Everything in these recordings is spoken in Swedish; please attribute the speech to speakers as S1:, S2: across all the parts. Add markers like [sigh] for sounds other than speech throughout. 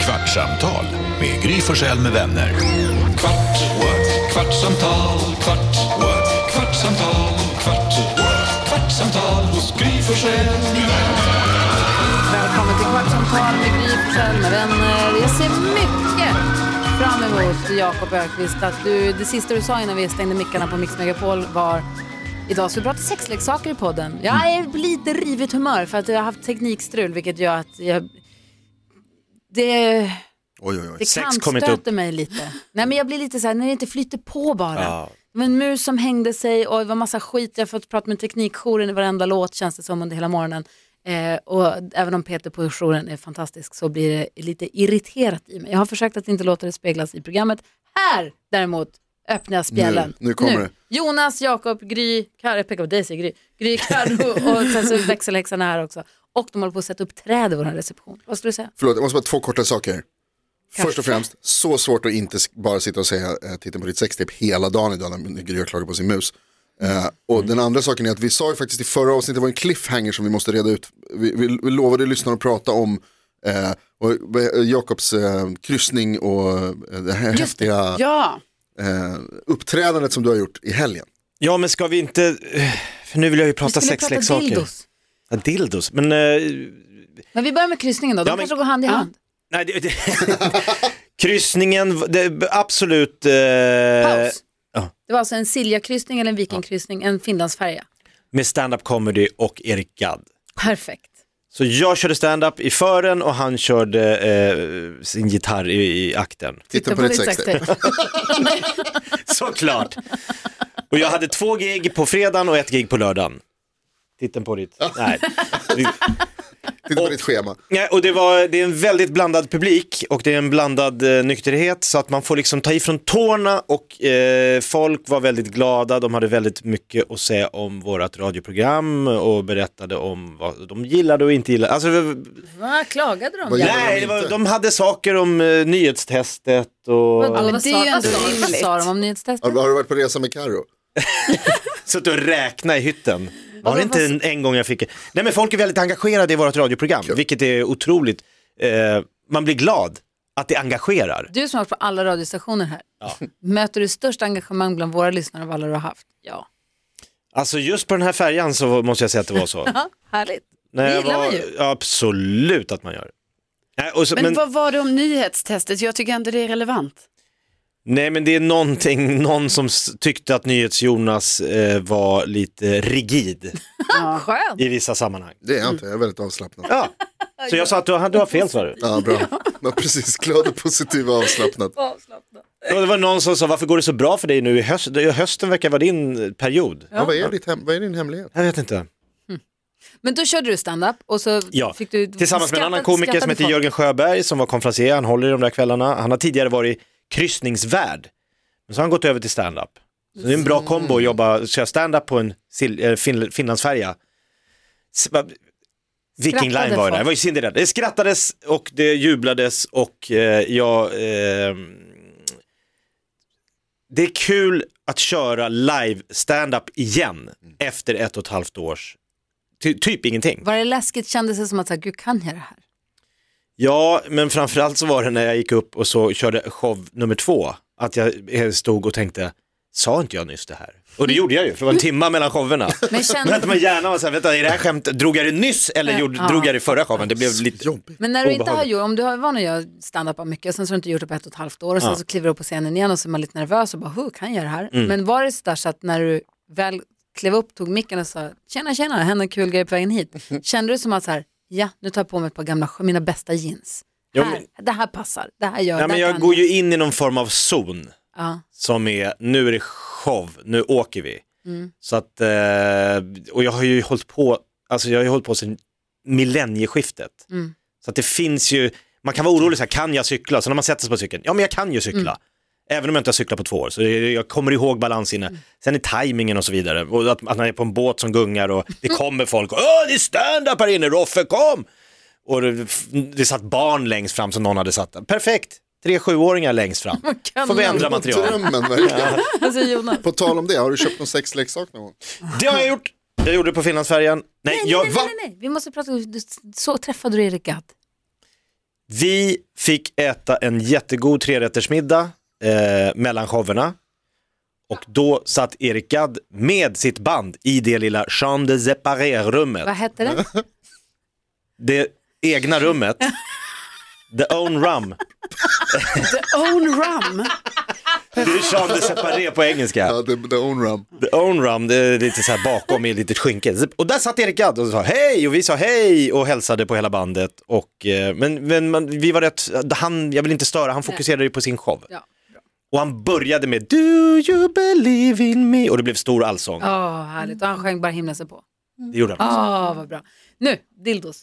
S1: Kvartsamtal med Gry Forssell med vänner. Kvart, what? kvartsamtal, kvart, what? kvartsamtal, kvart, what? kvartsamtal hos Gry Forssell med vänner.
S2: Välkommen till Kvartsamtal med Gry Forssell med vänner. Jag ser mycket fram emot, Jakob Ökvist, att du, det sista du sa innan vi stängde mickarna på Mix Megapol var Idag ska vi prata sexleksaker i podden. Jag är på lite rivigt humör för att jag har haft teknikstrul vilket gör att jag... Det,
S3: Oj, oj, oj.
S2: det
S4: Sex kom inte
S2: kantstöter mig lite. Nej men jag blir lite så här, när det inte flyter på bara.
S4: Ja.
S2: Det var en mus som hängde sig och det var massa skit. Jag har fått prata med teknikjouren i varenda låt känns det som under hela morgonen. Eh, och även om Peter på jouren är fantastisk så blir det lite irriterat i mig. Jag har försökt att inte låta det speglas i programmet. Här däremot öppnar jag spjällen.
S3: Nu, nu kommer det.
S2: Jonas, Jakob, Gry, Karo, jag pekar på dig säger Gry, Gry, Karo och sen så växelhäxan är här också. Och de håller på att sätta upp träd i vår reception. Vad skulle du säga?
S3: Förlåt, jag måste bara två korta saker. Först och främst, så svårt att inte s- bara sitta och säga eh, titta på ditt sextape hela dagen idag när Gry har klagat på sin mus. Eh, och den andra saken är att vi sa ju faktiskt i förra avsnittet, det var en cliffhanger som vi måste reda ut. Vi, vi, vi lovade lyssnarna att prata om eh, och, eh, Jakobs eh, kryssning och eh, det här häftiga
S5: Ja,
S3: eh, uppträdandet som du har gjort i helgen.
S4: Ja men ska vi inte, eh, för nu vill jag ju
S2: Vi
S4: prata
S2: skulle prata
S4: sexleksaker.
S2: dildos.
S4: Ja, dildos. Men eh,
S2: Men vi börjar med kryssningen då, de
S4: Ja, men-
S2: kanske går hand i hand.
S4: nej, det, [laughs] det, kryssningen, det, absolut. Eh,
S2: Paus.
S4: ja.
S2: Det var alltså en Siljakryssning eller en Vikingkryssning, en Finlandsfärja.
S4: med stand-up comedy och Erik Gadd.
S2: Perfekt.
S4: Så jag körde stand-up i fören och han körde eh, sin gitarr i, i akten. [laughs]
S3: Titta på ditt sextape.
S2: sextape.
S4: Såklart. Och jag hade två gig på fredagen och ett gig på lördagen. Titten på ditt... Nej.
S3: Titta på
S4: Och-
S3: ditt schema.
S4: Nej, och det, var, det är en väldigt blandad publik och det är en blandad eh, nykterhet så att man får liksom ta ifrån tårna och eh, folk var väldigt glada, de hade väldigt mycket att säga om vårat radioprogram och berättade om vad de gillade och inte gillade. Alltså, det var-
S2: Vad klagade de?
S3: Vad
S2: Ja.
S3: gör- gillade de
S4: nej, det var,
S3: inte.
S4: de hade saker om eh, nyhetstestet
S2: Vadå,
S4: och
S5: men
S2: vad
S5: det är
S2: sa-
S5: ju
S2: vad
S5: ändå
S2: sa-
S5: rimligt.
S2: Sa de om
S3: Har,
S2: nyhetstestet?
S3: har du varit på resa med Karo?
S4: suttit och räkna i hytten. Var
S2: Vadå,
S4: det inte
S2: vad-
S4: en, en gång jag fick Nej men folk är väldigt engagerade i vårt radioprogram, vilket är otroligt. Eh, man blir glad att det engagerar.
S2: Du som har varit på alla radiostationer här, möter du störst engagemang bland våra lyssnare av alla du har haft? Ja.
S4: Alltså just på den här färjan så måste jag säga att det var
S5: [laughs]
S4: så.
S2: Ja, härligt.
S4: När
S2: Det
S4: jag
S2: gillar
S4: var,
S2: man ju.
S4: Absolut att man gör. Nej, och så,
S5: men,
S4: men,
S5: vad var det om nyhetstestet? Jag tycker ändå det är relevant.
S4: nej men det är någonting, någon som s- tyckte att NyhetsJonas eh, var lite rigid
S2: Skönt.
S4: i vissa sammanhang.
S3: Det är jag inte, jag är väldigt avslappnad.
S5: [laughs]
S4: Ja. Så jag sa att du, har- du har fel sa du.
S3: Ja, bra. Ja, precis. Glad och positiv och avslappnad.
S4: Och Det var någon som sa, varför går det så bra för dig nu i höst? Hösten verkar vara din period.
S3: Ja, vad, är ditt hem, vad är din hemlighet?
S4: Jag vet inte.
S2: Men då körde du stand-up och så
S4: Ja,
S2: fick du...
S4: tillsammans med en
S2: skrattade-
S4: annan komiker som
S2: skrattade
S4: heter
S2: folk.
S4: Jörgen Sjöberg som var konferencier, han håller i de där kvällarna. Han har tidigare varit kryssningsvärd, men så har han gått över till stand-up. Så det är en bra kombo att jobba, köra stand-up på en sil- eh, fin- finlandsfärja. S- va- Viking Line
S2: Skrattade
S4: var det,
S2: folk.
S4: det var ju Cinderella. Det skrattades och det jublades och eh, jag... Eh, det är kul att köra live stand-up igen efter ett och ett halvt års, ty- typ ingenting.
S2: Var det läskigt? Kändes det som att, så här, gud kan jag det här?
S4: Ja, men framförallt så var det när jag gick upp och så körde show nummer två, att jag eh, stod och tänkte, sa inte jag nyss det här? Och det gjorde jag ju, för det var en timma mellan showerna. [laughs]
S2: Men
S4: Men att
S2: kände...
S4: man gärna var så här, vänta, är det här skämt, drog jag det nyss eller gjorde,
S2: Ja.
S4: drog jag det i förra showen? Det blev lite...
S3: Jobbigt.
S2: Men när du inte har
S4: Obehagligt.
S2: gjort, om du har van att göra stand-up av mycket, sen så har du inte gjort det på ett och ett halvt år och sen
S4: Ja. Mm.
S2: så kliver du upp på scenen igen och så är man lite nervös och bara, hur kan jag göra det här? Men var det så där så att när du väl klev upp, tog micken och sa, tjena tjena, hände en kul grej på vägen
S4: [laughs]
S2: hit. Kände du som att så här, ja, nu tar jag på mig ett par gamla, mina bästa jeans.
S4: Jo,
S2: här, det här passar, det här gör
S4: Ja,
S2: det
S4: men
S2: här
S4: jag
S2: kan
S4: går ju in i någon form av zon
S2: Ja.
S4: som är, nu är det show, nu åker vi.
S2: Mm.
S4: Så att, eh, och jag har ju hållit på, alltså jag har ju hållit på sedan millennieskiftet.
S2: Mm.
S4: Så att det finns ju, man kan vara orolig så här, kan jag cykla? Så när man sätter sig på cykeln, ja men jag kan ju cykla.
S2: Mm.
S4: Även om jag inte har cyklat på två år, så det- jag kommer ihåg balansinne.
S2: Mm.
S4: Sen är tajmingen och så vidare, och att, att man är på en båt som gungar och
S2: [laughs]
S4: det kommer folk, och, åh det är stand-up här inne, Roffe kom! Och det, det satt barn längst fram som någon hade satt, där. perfekt, tre sjuåringar
S2: [laughs]
S4: längst fram.
S2: kan
S4: Får vi ändra
S3: På
S4: material.
S3: drömmen verkligen.
S2: Alltså
S4: [laughs]
S2: Jonas,
S3: På tal om det, har du köpt någon sexleksak någon gång?
S4: Det har jag gjort, jag gjorde det på Finlandsfärjan. Nej, jag,
S2: nej, nej, nej, vi måste prata, du- så träffade du Erik Gadd.
S4: Vi fick äta en jättegod trerättersmiddag eh, mellan showerna. Och då satt Erik Gadd med sitt band i det lilla Jean de Zeparé-rummet.
S2: Vad hette
S4: [laughs]
S2: det?
S4: Det egna rummet. The own rum.
S5: The own rum.
S4: Det är Jean de Zeparé på engelska.
S3: Ja, the, the own rum.
S4: The own rum, det är lite så här bakom i ett litet skynke. Och där satt Erik Gadd och sa hej och vi sa hej och hälsade på hela bandet. Och, eh, men men man, vi var rätt, han, jag vill inte störa, han fokuserade ju på sin show.
S2: Ja.
S4: Och han började med Do you believe in me? Och det blev stor allsång.
S2: Åh, härligt. Och han sjöng bara himlen sig på.
S4: Det gjorde han.
S2: Åh, vad bra. Nu, dildos.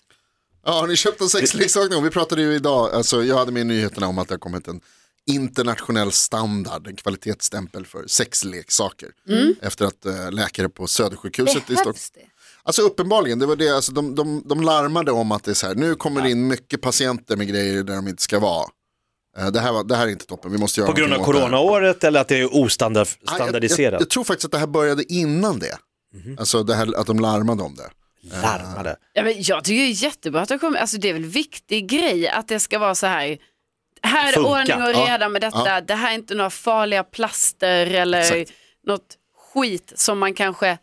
S3: Ja, har ni köpt en sexleksak någon? Vi pratade ju idag, alltså, jag hade med i nyheterna om att det har kommit en internationell standard, en kvalitetsstämpel för sexleksaker. Efter att eh, läkare på Södersjukhuset i Stockholm
S2: Behövs det?
S3: Alltså uppenbarligen, det var det, alltså, de, de, de larmade om att det är så här, nu kommer det in mycket patienter med grejer där de inte ska vara. Eh, Det här, var, det här är inte toppen, vi måste göra
S4: På grund av
S3: någonting åt det här.
S4: coronaåret eller att det är
S3: Ah, Jag, jag,
S4: ostandardiserat?
S3: jag tror faktiskt att det här började innan det.
S4: Mhm.
S3: Alltså det här, att de larmade om det.
S4: Larmade.
S5: Ja, men jag tycker det är jättebra att det kommer. Alltså, det är väl en viktig grej att det ska vara så här. Här är
S4: Funka.
S5: ordning och
S3: Ja.
S5: reda med detta. Det här är inte några farliga plaster eller
S3: Exakt.
S5: något skit som man kanske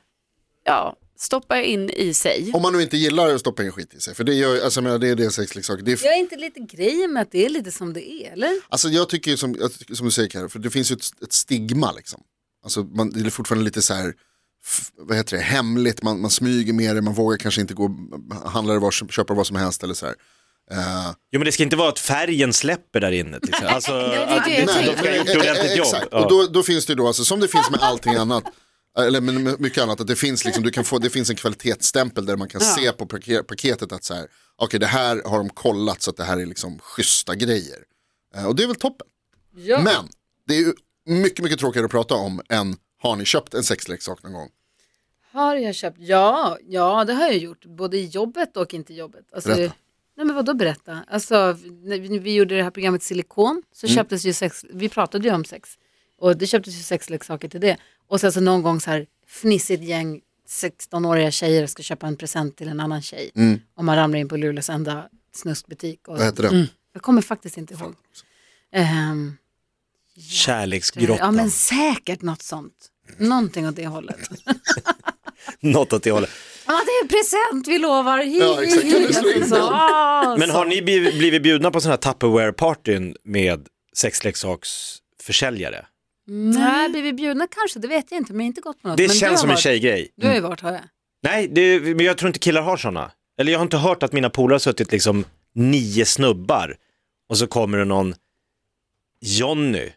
S5: ja, stoppar in i sig.
S3: Om man nu inte gillar att stoppa in skit i sig, för det, gör, alltså, jag menar, det är det sexleksaker, det är
S2: Jag är inte lite grejen med att det är lite som det är, eller?
S3: Alltså jag tycker ju som, jag tycker som du säger Karo, för det finns ju ett, ett stigma liksom. Alltså man, det är fortfarande lite så här, f- vad heter det, hemligt, man, man smyger med det, man vågar kanske inte gå och handla vad som, köpa vad som helst eller så här. Eh,
S4: Jo men det ska inte vara att färgen släpper där inne. till
S5: [laughs]
S4: exempel. Alltså,
S5: det är det jag
S4: att
S5: tänker.
S4: de ska ha gjort
S3: eh,
S4: ett
S3: eh,
S4: ordentligt jobb.
S3: Exakt, och
S4: Ja.
S3: då, då finns det ju då, alltså, som det finns med allting annat, eller med med mycket annat, att det finns, liksom, du kan få, det finns en kvalitetsstämpel där man kan se på pake- paketet att så här, okej det här har de kollat så att det här är liksom schyssta grejer. Eh, och det är väl toppen.
S2: Ja.
S3: Men det är ju mycket, mycket tråkigare att prata om än har ni köpt en sexleksak någon gång?
S2: Har jag köpt? Ja, ja, det har jag gjort. Både i jobbet och inte i jobbet. Alltså,
S3: Berätta.
S2: Nej, men vadå berätta? Alltså, när vi, vi gjorde det här programmet Silikon så
S3: Mm.
S2: köptes ju sex, vi pratade ju om sex. Och det köptes ju sexleksaker till det. Och sen så någon gång så här fnissigt gäng 16-åriga tjejer ska köpa en present till en annan tjej. Och man ramlar in på Luleås enda snuskbutik. Och,
S3: Mm. Vad heter den?
S4: Mm.
S2: jag kommer faktiskt inte ihåg. Ehm, Ja,
S4: Kärleksgrottan. [laughs]
S2: men säkert något sånt. Någonting åt det hållet.
S4: Något åt det hållet.
S2: Ja, det är en present vi lovar. Hi,
S3: Ja, exakt.
S4: Mm.
S2: hi, hi.
S3: Det är
S2: Alltså, ah,
S4: Men
S2: så.
S4: har ni bliv- blivit bjudna på sådana här Tupperware-partyn med sexleksaksförsäljare?
S2: Nej, blir vi bjudna kanske? Det vet jag inte, men jag har inte gått på något.
S4: Det
S2: men du har
S4: känns som en
S2: varit-
S4: tjejgrej.
S2: Du har ju varit, har jag.
S4: Nej, det, men jag tror inte killar har sådana. Eller jag har inte hört att mina polare har suttit liksom nio snubbar och så kommer det någon Jonny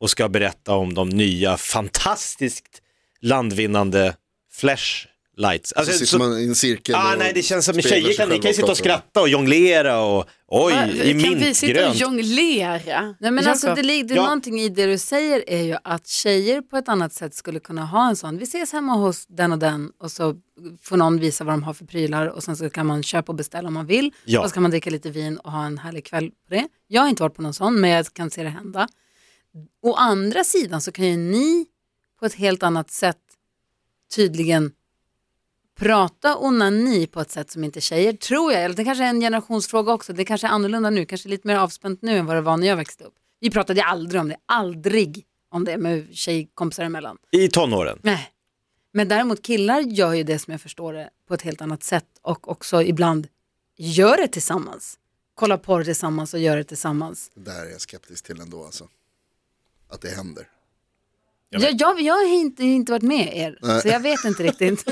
S4: och ska berätta om de nya fantastiskt landvinnande flashlights.
S3: Så
S4: Alltså,
S3: sitter
S4: så-
S3: man i en cirkel
S4: Ah,
S3: och
S4: nej, det känns som
S3: speglar
S4: tjejer
S3: sig
S4: kan, ni
S3: själva
S4: kan ju sitta och
S3: pratar om
S4: skratta och jonglera och oj, i
S5: kan vi sitta och
S4: mintgrönt.
S5: jonglera?
S2: Nej, men alltså,
S5: Jakob?
S2: det ligger
S4: Ja.
S2: någonting i det du säger är ju att tjejer på ett annat sätt skulle kunna ha en sån. Vi ses hemma hos den och den och så får någon visa vad de har för prylar och sen så kan man köpa och beställa om man vill.
S4: Ja.
S2: Och så kan man dricka lite vin och ha en härlig kväll på det. Jag har inte varit på någon sån men jag kan se det hända. Å andra sidan så kan ju ni på ett helt annat sätt tydligen prata onani på ett sätt som inte tjejer, tror jag. Eller det kanske är en generationsfråga också. Det kanske är annorlunda nu, kanske lite mer avspänt nu än vad det var när jag växte upp. Vi pratade aldrig om det, aldrig om det med tjejkompisar emellan.
S4: I tonåren.
S2: Nej. Men däremot killar gör ju det som jag förstår det på ett helt annat sätt och också ibland gör det tillsammans. Kolla porr tillsammans och gör det tillsammans.
S3: Det där är jag skeptisk till ändå alltså. Att det händer.
S2: Jag, jag, jag har inte, inte varit med er, så jag vet inte riktigt.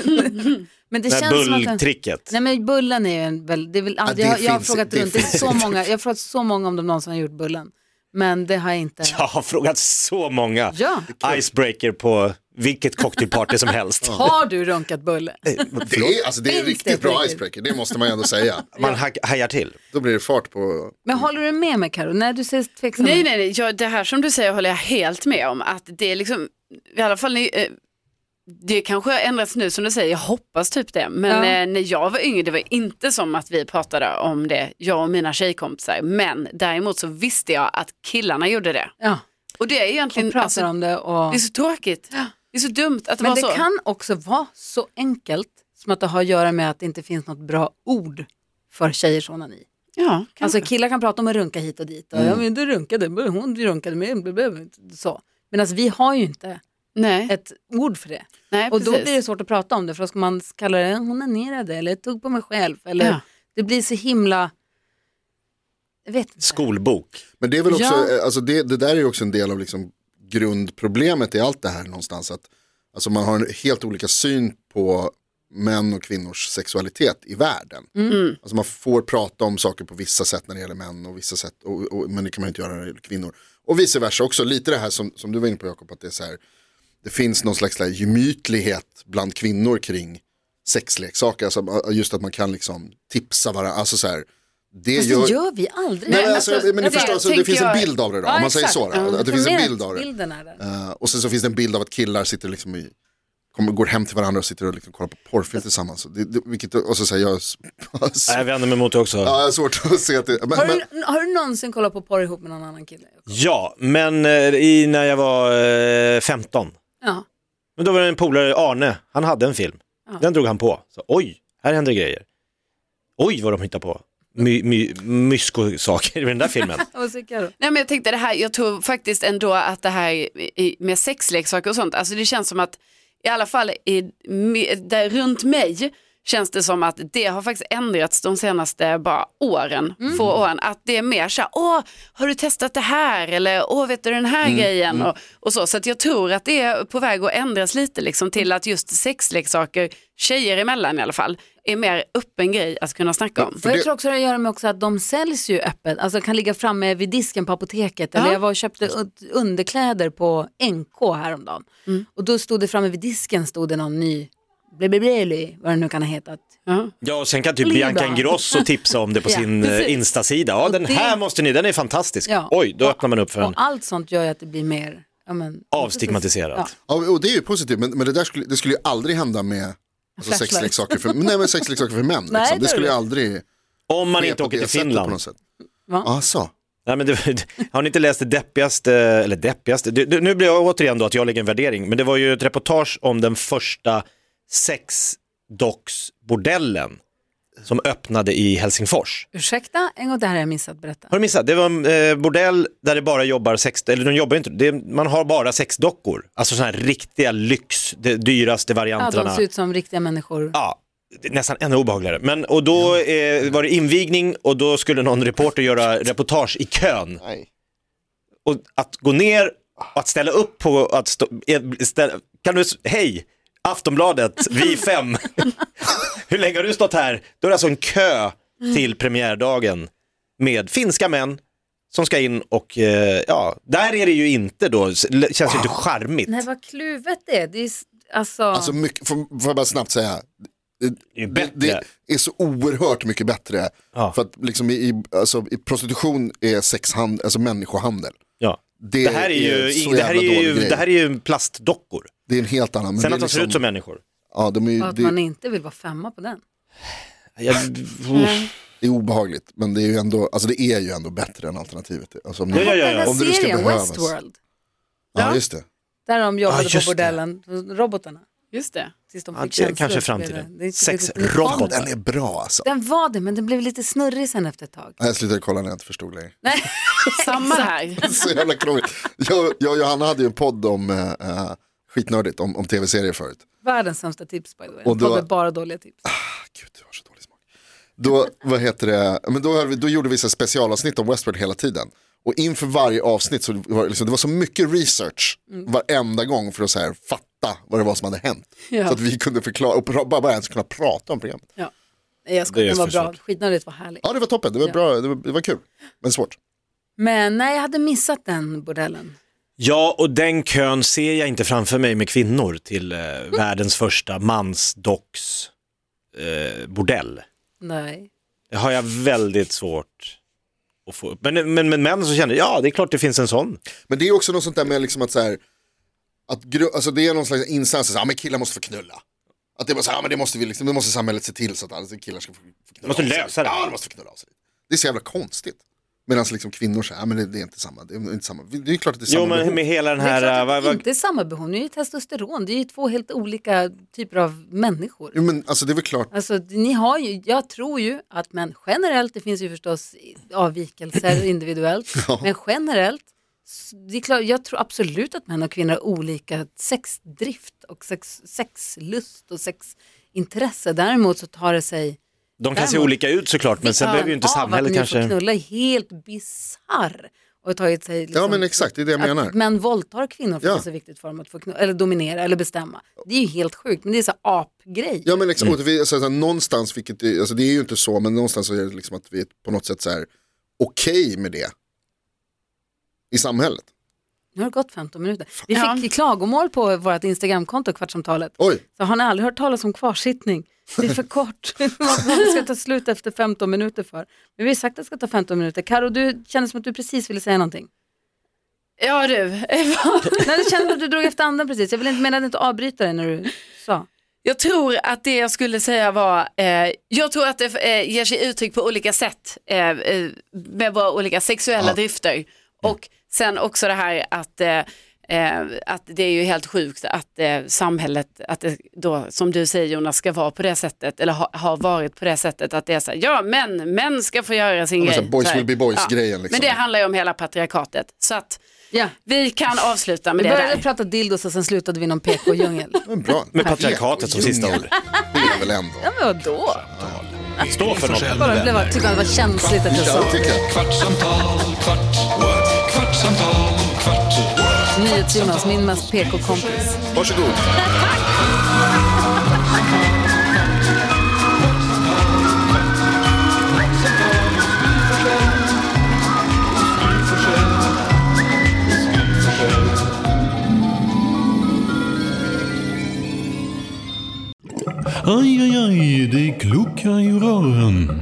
S3: [laughs]
S2: Men det
S4: Det här
S2: känns som att...
S4: bulltricket.
S2: Nej men bullen är ju en väl, det är väl,
S3: det
S2: jag, jag har
S3: finns-
S2: frågat
S3: det
S2: runt, det är
S3: finns
S2: så
S3: inte.
S2: många, jag har frågat så många om de någonsin har gjort bullen. Men det har jag inte.
S4: [laughs] Jag har frågat så många
S2: Ja.
S4: icebreaker på vilket cocktailparty
S2: [laughs]
S4: som helst.
S2: Har du runkat bulle?
S3: Det är, alltså, det är
S2: Finns
S3: riktigt
S2: det
S3: bra
S2: tjejer?
S3: icebreaker, det måste man ju ändå säga.
S4: Man ha- hajar till.
S3: Då blir det fart på...
S2: Men håller du med mig Karo? Nej du ser tveksam
S5: Nej,
S2: ut.
S5: nej, nej. Ja, det här som du säger håller jag helt med om. Att det är liksom, i alla fall, ni, eh, det kanske har ändrats nu som du säger, jag hoppas typ det. Men
S2: Ja.
S5: eh, när jag var yngre, det var inte som att vi pratade om det, jag och mina tjejkompisar. Men däremot så visste jag att killarna gjorde det.
S2: Ja,
S5: Och det är egentligen,
S2: och pratar
S5: alltså,
S2: om det och...
S5: det är så tråkigt. Det är så dumt att det
S2: Men
S5: var
S2: det
S5: så.
S2: kan också vara så enkelt som att det har att göra med att det inte finns något bra ord för tjejers onani.
S5: Ja, kanske. Mm.
S2: Alltså killar kan prata om att runka hit och dit. Och, Ja men du runkade, men hon runkade med, blah, blah, blah, så. Men alltså vi har ju inte
S5: nej,
S2: ett ord för det.
S5: nej,
S2: Och då
S5: precis.
S2: blir det svårt att prata om det för då ska man kalla det onanerade eller tog på mig själv. Eller,
S5: Ja.
S2: Det blir så himla, jag vet inte.
S4: Skolbok.
S3: Men det är väl också,
S2: Ja.
S3: eh, alltså det, det där är ju också en del av liksom grundproblemet i allt det här någonstans. Att, alltså man har en helt olika syn på män och kvinnors sexualitet i världen. Alltså man får prata om saker på vissa sätt när det gäller män och vissa sätt, och, och, men det kan man inte göra när det gäller kvinnor. Och vice versa också, lite det här som, som du var inne på Jakob, att det är så här, det finns någon slags så här gemytlighet bland kvinnor kring sexleksaker, alltså just att man kan liksom tipsa varandra, alltså så här, det
S2: Fast
S3: gör,
S2: det gör vi aldrig.
S3: Nej, men,
S5: Nej,
S3: alltså,
S5: alltså,
S3: men ni
S5: jag
S3: förstår,
S5: vet,
S3: alltså, det
S5: tänker
S3: finns en
S5: jag-
S3: bild av det då,
S2: Ja,
S3: om man säger
S2: exakt. Mm.
S3: så. Då,
S2: Ja,
S3: att det finns en
S2: problemet-
S3: bild av det.
S2: Bilden är den.
S3: Eh, och sen så finns det en bild av att killar sitter liksom i, kommer, går hem till varandra och sitter och liksom kollar på porrfilm tillsammans. Så Det, det, vilket, och så säger jag, [laughs] alltså,
S4: Nej, jag vänder mig mot det också.
S3: ja, jag har svårt att se att det,
S2: Har
S3: men, men,
S2: du, har du någonsin kollat på porr ihop med någon annan kille?
S4: Ja, men eh, i, när jag var eh, 15.
S2: Ja.
S4: Men då var det en polare, Arne, han hade en film.
S2: Ja.
S4: Den drog han på. Så, Oj, här händer grejer. Oj, vad de hittar på. My, my, mysko-saker i den
S2: [laughs]
S4: där filmen.
S2: Vad tycker du?
S5: Nej, men jag tänkte det här, jag tror faktiskt ändå att det här i- med sexleksaker och sånt, alltså det känns som att i alla fall i, me- där runt mig känns det som att det har faktiskt ändrats de senaste bara åren, få åren. Att det är mer så här, åh, har du testat det här? Eller åh, vet du den här grejen? Och, och så. så att jag tror att det är på väg att ändras lite liksom till att just sexleksaker, tjejer emellan i alla fall, är mer öppen grej att kunna snacka om.
S2: Och jag
S3: det-
S2: tror också det har att göra med också att de säljs ju öppet, alltså kan ligga framme vid disken på apoteket. Eller
S5: Ja.
S2: jag var och köpte un- underkläder på NK häromdagen. Och då stod det framme vid disken stod det någon ny, blibli, vad det nu kan ha hetat.
S5: Ja.
S4: Ja, och sen kan typ
S2: Liba.
S4: Bianca
S2: [laughs]
S4: Ingrosso tipsa om det på
S2: Ja,
S4: sin eh,
S2: precis.
S4: Insta-sida. Ja, den
S2: det-
S4: här måste ni, den är fantastisk.
S2: Ja.
S4: Oj, då öppnar man upp för
S2: Och
S4: en
S2: allt sånt gör ju att det blir mer ja, men,
S4: avstigmatiserad.
S2: Ja.
S3: ja, och det är ju positivt, men, men det där skulle, det skulle ju aldrig hända med alltså,
S2: Flashlight.
S3: sexleksaker för, nej, men sexleksaker för män.
S2: Nej,
S3: liksom.
S2: det
S3: Det
S2: är
S3: skulle ju
S2: det.
S3: aldrig
S4: Om man
S3: ske
S4: inte
S3: på
S4: åker
S3: det
S4: till
S3: sättet På något
S4: Finland.
S3: sätt. Alltså.
S2: Va?
S3: Ja, så.
S4: Nej, men det, var- har ni inte läst det deppigaste, eller deppigaste, det, det, nu blir jag återigen då att jag lägger en värdering, men det var ju ett reportage om den första sexdocksbordellen som öppnade i Helsingfors.
S2: Ursäkta, en gång det här har jag missat berätta.
S4: Har du missat? Det var en eh, bordell där det bara jobbar sex, eller de jobbar inte, det, man har bara sexdockor. Alltså sådana här riktiga lyx, de dyraste
S2: Ja,
S4: varianterna.
S2: de ser ut som riktiga människor.
S4: ja, det är nästan ännu obehagligare. Men, och då eh, var det invigning och då skulle någon reporter göra reportage i kön. Och att gå ner och att ställa upp på att stå, eh, ställa, kan du, s- hej, Aftonbladet, vi
S3: [laughs]
S4: fem. Hur länge har du stått här? Då är det alltså en kö till premiärdagen med finska män som ska in och eh, ja, där är det ju inte då, s- l- känns ju inte charmigt.
S2: Nej vad kluvet det är. Det är s- alltså,
S3: Alltså, mycket, får, får jag bara snabbt säga,
S4: Det är ju
S3: det,
S4: bättre.
S3: det är så oerhört mycket bättre.
S4: Ja.
S3: För att liksom i, i, alltså, i prostitution är sexhandel, alltså människohandel.
S4: ja.
S3: Det,
S4: Det här är
S3: så
S4: ju, det här är
S3: jävla dålig
S4: ju,
S3: grej.
S4: det här är ju plastdockor.
S3: Det är en helt annan. men
S4: Sen
S3: det
S4: att
S3: är liksom-
S4: de ser ut som människor.
S3: Ja, de är, ju-
S2: och att
S3: det,
S2: man inte vill vara femma på den.
S4: Jag,
S3: det är obehagligt, men det är ju ändå, alltså det är ju ändå bättre än alternativet. Alltså, om,
S4: Ja, ja, ja.
S2: Den här
S3: Om det nu ska
S2: serien
S3: behövas.
S2: Westworld,
S3: ja, just det.
S2: där de
S4: Ja,
S2: jobbade
S4: Ah, just
S2: på bordellen, robotarna.
S5: Just det.
S2: Tills de
S4: Ja,
S2: fick
S4: det är
S2: känslor
S4: kanske
S2: för det.
S4: framtiden.
S2: Det är-
S4: Sex
S2: det- det-
S4: robot.
S3: Den är bra alltså.
S2: Den var det, men den blev lite snurrig sen efter ett tag.
S3: Nej, jag slutade kolla när jag inte förstod längre.
S2: Nej.
S5: Samma här.
S3: Så jävla
S2: [laughs]
S3: krångligt. Jag, jag och Johanna hade ju en podd om, eh, eh, skitnördigt, om, om tv-serier förut.
S2: Världens sämsta tips by the way.
S3: Och
S2: Och
S3: då-
S2: då... bara dåliga tips.
S3: Gud, du har så dålig smak. Då, vad heter det? Men då, hade vi, då gjorde vi så här specialavsnitt om Westworld hela tiden. Och inför varje avsnitt så var det, liksom, det var så mycket research varenda gång för att så här, fatta vad det var som hade hänt.
S2: Ja.
S3: Så att vi kunde förklara, och pra- bara, bara ens kunna prata om programmet.
S2: Nej, jag skojar,
S4: Det är
S2: den var
S4: för
S2: bra.
S4: svårt.
S2: Skitnödigt var härlig.
S3: Ja det var toppen, det var, bra, det var, det var kul, men svårt.
S2: Men nej, jag hade missat den bordellen.
S4: ja, och den kön ser jag inte framför mig med kvinnor till eh,
S2: Mm.
S4: världens första mansdocks eh, bordell.
S2: Nej.
S4: Det har jag väldigt svårt att få upp. Men, men, men män så känner, ja det är klart det finns en sån.
S3: Men det är också något sånt där med liksom att så här, att gru- alltså det är någon slags instans, så här, "Ah, men killar måste få knulla. Att det, är bara så här, "Ah, men det, måste vi liksom, det måste samhället se till så att alla killar ska få, få knulla
S4: Måste
S3: av sig."
S4: lösa det.
S3: Ja, de måste få knulla av sig. Det är så jävla konstigt. Medan liksom kvinnor säger, ja men det, det är inte samma, det är inte samma. Det är klart att det är samma
S4: Jo men
S3: behov.
S4: med hela den
S2: Det är
S4: här,
S2: klart
S4: äh,
S2: att
S4: vad,
S2: det
S4: vad,
S2: inte är samma behov, det är ju testosteron, det är ju två helt olika typer av människor.
S3: Jo men alltså det är väl klart,
S2: Alltså, ni har ju, jag tror ju att män generellt, det finns ju förstås
S3: [clears throat]
S2: avvikelser individuellt, men generellt, s- det är klart, jag tror absolut att män och kvinnor har olika sexdrift och sex, sexlust och sexintresse. Däremot så tar det sig,
S4: de kan se
S2: Däremot-
S4: olika ut såklart men sen
S2: Ja,
S4: behöver ju inte
S2: av att
S4: samhället
S2: Att
S4: kanske.
S2: knulla är helt bisarr. Och tagit sig liksom,
S3: ja men exakt det är det jag menar.
S2: att män våldtar kvinnor för
S3: Ja.
S2: att det är så viktigt för dem att få knulla, eller dominera eller bestämma. Det är ju helt sjukt, men det är så här apgrej.
S3: Ja men
S4: Mm.
S3: exakt, och vi, alltså, alltså, någonstans, vilket, det- alltså, det är ju inte så, men någonstans så är det liksom att vi är på något sätt så här okej med det i samhället.
S2: Nu har det gått 15 minuter. Vi
S5: Ja.
S2: fick klagomål på vårt Instagramkonto, Kvartsamtalet.
S3: Oj,
S2: Så har ni aldrig hört talas om kvarsittning? Det är
S5: [laughs]
S2: för kort. [laughs] Man ska ta slut efter 15 minuter för. Men vi har sagt att det ska ta 15 minuter. Karo, du kändes som att du precis ville säga någonting.
S5: Ja du,
S2: Nej, det kändes som att du drog efter andan precis. Jag vill inte, menade inte att avbryta dig när du sa.
S5: Jag tror att det jag skulle säga var, eh, jag tror att det eh, ger sig uttryck på olika sätt eh, eh, med våra olika sexuella drifter.
S3: Mm.
S5: Och sen också det här att, eh, eh, att det är ju helt sjukt att eh, samhället, att det då, som du säger Jonas, ska vara på det sättet, eller ha, har varit på det sättet, att det är så här, ja män, män ska få göra sin
S3: men så
S5: grej.
S3: här, boys
S5: Så här.
S3: will be boys-grejen, liksom.
S5: Men det handlar ju om hela patriarkatet. Så att
S2: Ja.
S5: vi kan avsluta
S2: Vi
S5: med det
S2: började
S5: där.
S2: prata dildos och sen slutade vi någon
S5: [laughs]
S2: PK-djungel.
S3: men bra.
S4: Med patriarkatet som sista
S3: Djungel.
S4: ord.
S3: Det är väl ändå.
S2: ja, men vadå?
S4: Stå för något.
S2: Bara blev, tyckte att det var känsligt att jag sa.
S3: Jag tycker att
S1: Kvartsamtal, kvart, what? kvartsamtal, kvart, what?
S2: NyhetsJonas, min mest PK-kompis.
S3: Varsågod.
S6: Aj, aj, aj, det kluckar i rören.